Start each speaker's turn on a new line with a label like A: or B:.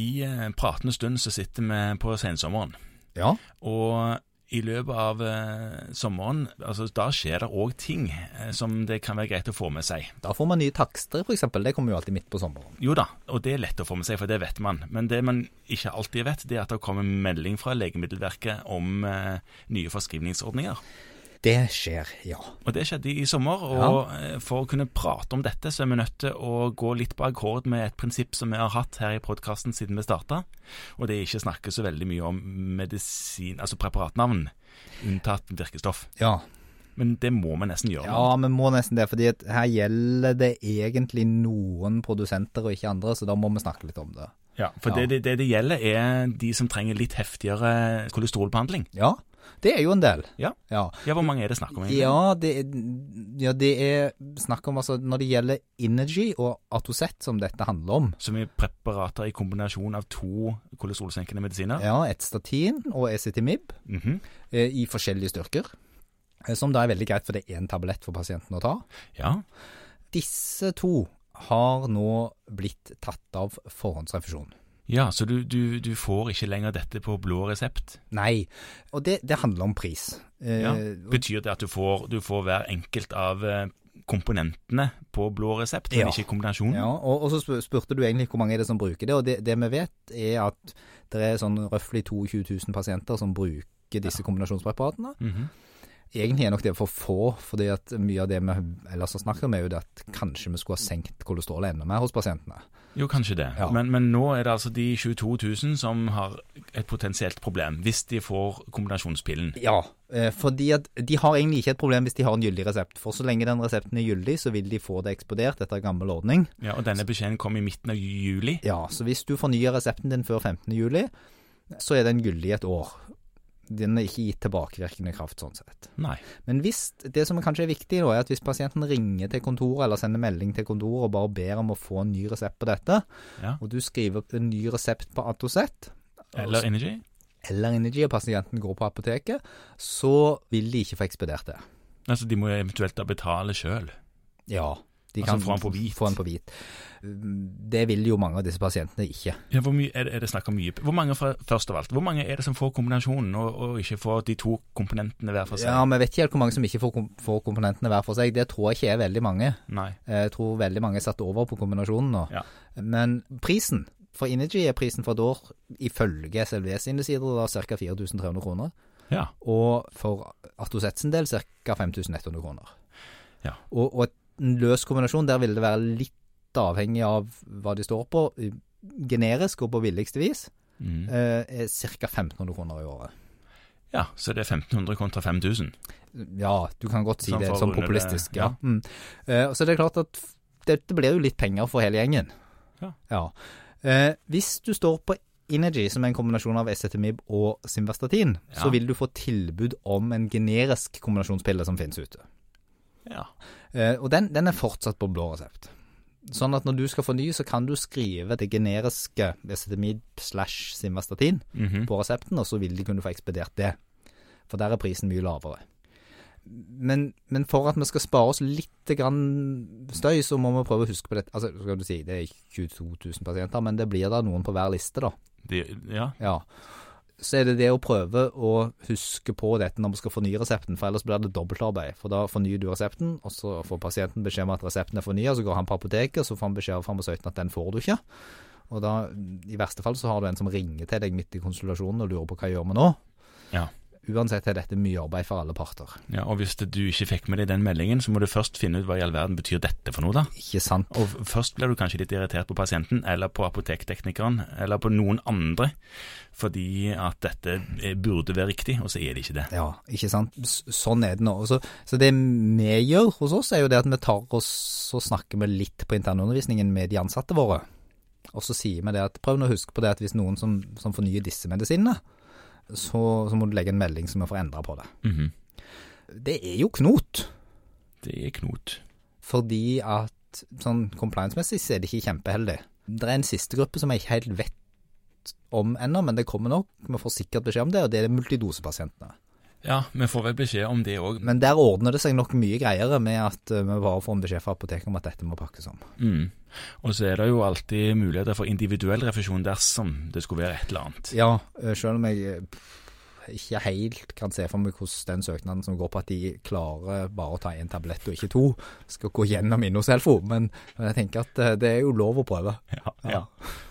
A: I eh, pratende stund så sitter vi på sensommeren,
B: Ja.
A: og i løpet av eh, sommeren altså, da skjer det òg ting eh, som det kan være greit å få med seg.
B: Da får man nye takster, f.eks. Det kommer jo alltid midt på sommeren.
A: Jo da, og det er lett å få med seg, for det vet man. Men det man ikke alltid vet, det er at det kommer melding fra Legemiddelverket om eh, nye forskrivningsordninger.
B: Det skjer, ja.
A: Og det skjedde i sommer, og eh, for å kunne prate om dette, så er vi nødt til å gå litt på akkord med et prinsipp som vi har hatt her i podkasten siden vi starta, og det er ikke snakke så veldig mye om medisin, altså preparatnavn, unntatt virkestoff.
B: Ja,
A: Men det må vi nesten gjøre.
B: ja vi må nesten det, fordi at her gjelder det egentlig noen produsenter og ikke andre, så da må vi snakke litt om det.
A: Ja, for
B: Ja.
A: Det, det, det det gjelder, er de som trenger litt heftigere kolesterolbehandling.
B: Ja, det er jo en del.
A: Ja.
B: Ja,
A: Ja, hvor mange er det snakk om? egentlig?
B: ja, det, er- ja det er snakk om altså når det gjelder Energy og Atocet, som dette handler om.
A: som er preparater i kombinasjon av to kolesterolsenkende medisiner.
B: Ja, Etstatin og Esetimib
A: Mhm.
B: eh, i forskjellige styrker. eh, Som da er veldig greit, for det er én tablett for pasienten å ta.
A: ja.
B: Disse to har nå blitt tatt av forhåndsrefusjon.
A: ja, så du, du, du får ikke lenger dette på blå resept.
B: Nei, og det, det handler om pris. Eh,
A: Ja. Betyr det at du får, du får hver enkelt av eh, komponentene på blå resept, men
B: Ja.
A: ikke kombinasjonen?
B: Ja, og, og så sp- spurte du egentlig hvor mange er det som bruker det, og det, det vi vet er at det er sånn røftlig 22 000 pasienter som bruker disse kombinasjonspreparatene.
A: Mhm.
B: Egentlig er nok det for få, fordi at mye av det vi ellers har snakket om er jo det at kanskje vi skulle ha senkt kolesterolet enda mer hos pasientene.
A: Jo, kanskje det.
B: Ja.
A: Men, men nå er det altså de 22 000 som har et potensielt problem, hvis de får kombinasjonspillen.
B: Ja, eh, fordi at de har egentlig ikke et problem hvis de har en gyldig resept, for så lenge den resepten er gyldig, så vil de få det ekspedert etter gammel ordning.
A: Ja, og denne beskjeden kom i midten av juli.
B: Ja, så hvis du fornyer resepten din før 15. juli, så er den gyldig i et år. Den er ikke gitt tilbakevirkende kraft sånn sett.
A: Nei.
B: Men hvis, det som kanskje er viktig nå, er at hvis pasienten ringer til kontoret eller sender melding til kontoret og bare ber om å få en ny resept på dette,
A: Ja.
B: og du skriver en ny resept på Atocet,
A: Eller Energy?
B: eller Energy, og pasienten går på apoteket, så vil de ikke få ekspedert det.
A: Altså, de må eventuelt da betale sjøl.
B: Ja. De
A: Altså, få den på hvit.
B: få den på hvit. Det vil jo mange av disse pasientene ikke.
A: Ja, hvor mye er det, er det snakk om mye? Hvor mange, fra, først av alt, hvor mange er det som får kombinasjonen, og, og ikke får de to komponentene hver for seg?
B: Ja, Vi vet ikke helt hvor mange som ikke får, kom får komponentene hver for seg. Det tror jeg ikke er veldig mange.
A: Nei.
B: Jeg tror veldig mange er satt over på kombinasjonen nå.
A: Ja.
B: Men prisen for Energy er prisen for et år ifølge SLVs sine sider da ca. 4300 kroner.
A: Ja.
B: Og for Atosets sin del ca. 5100 kroner.
A: Ja.
B: Og, og en løs kombinasjon, der vil det være litt avhengig av hva de står på. Generisk og på billigste vis
A: Mm.
B: eh, er ca. 1500 kroner i året.
A: ja, så det er 1500 kontra 5000.
B: Ja, du kan godt si
A: Sånn
B: det
A: for å
B: som
A: runde det,
B: populistisk.
A: ja.
B: Ja. Mm. Eh, og så er det klart at f- dette blir jo litt penger for hele gjengen.
A: Ja.
B: Eh, hvis du står på Energy, som er en kombinasjon av Esetimib og Simvastatin,
A: Ja.
B: så vil du få tilbud om en generisk kombinasjonspille som finnes ute.
A: Ja.
B: Eh, og den, den er fortsatt på blå resept. Sånn at når du skal fornye, så kan du skrive det generiske Esetimib slash Simvastatin
A: Mhm.
B: på resepten, og så vil de kunne få ekspedert det. For der er prisen mye lavere. Men, men for at vi skal spare oss litt grann støy, så må vi prøve å huske på dette. Altså, skal du si, det er 22 000 pasienter, men det blir da noen på hver liste, da.
A: De, ja.
B: Ja. Så er det det å prøve å huske på dette når vi skal fornye resepten, for ellers blir det dobbeltarbeid. For da fornyer du resepten, og så får pasienten beskjed om at resepten er fornya, så går han på apoteket, og så får han beskjed av farmasøyten at den får du ikke. Og da, i verste fall, så har du en som ringer til deg midt i konsultasjonen og lurer på hva gjør vi nå.
A: Ja.
B: Uansett er dette mye arbeid for alle parter.
A: ja. Og hvis det, du ikke fikk med deg den meldingen, så må du først finne ut hva i all verden betyr dette for noe, da.
B: Ikke sant?
A: Og f- først blir du kanskje litt irritert på pasienten, eller på apotekteknikeren, eller på noen andre, fordi at dette eh, burde være riktig, og så er det ikke det.
B: Ja, ikke sant. S- Sånn er det nå. Og Så, så det vi gjør hos oss, er jo det at vi tar oss og snakker med litt på internundervisningen med de ansatte våre. Og så sier vi det at prøv nå å huske på det at hvis noen som, som fornyer disse medisinene, så, så må du legge en melding så vi får endra på det.
A: Mhm.
B: Det er jo knot,
A: Det er knot.
B: fordi at sånn compliance-messig så er det ikke kjempeheldig. Det er en siste gruppe som jeg ikke helt vet om ennå, men det kommer nok. Vi får sikkert beskjed om det, og det er multidosepasientene.
A: Ja, vi får vel beskjed om det òg.
B: Men der ordner det seg nok mye greiere med at eh, vi bare får en beskjed fra apoteket om at dette må pakkes om.
A: Mm. Og så er det jo alltid muligheter for individuell refusjon dersom det skulle være et eller annet.
B: Ja, eh, selv om jeg eh, pff, ikke helt kan se for meg hvordan den søknaden som går på at de klarer bare å ta én tablett og ikke to, skal gå gjennom Innoselfo, men, men jeg tenker at eh, det er jo lov å prøve.
A: Ja,
B: Ja.
A: ja.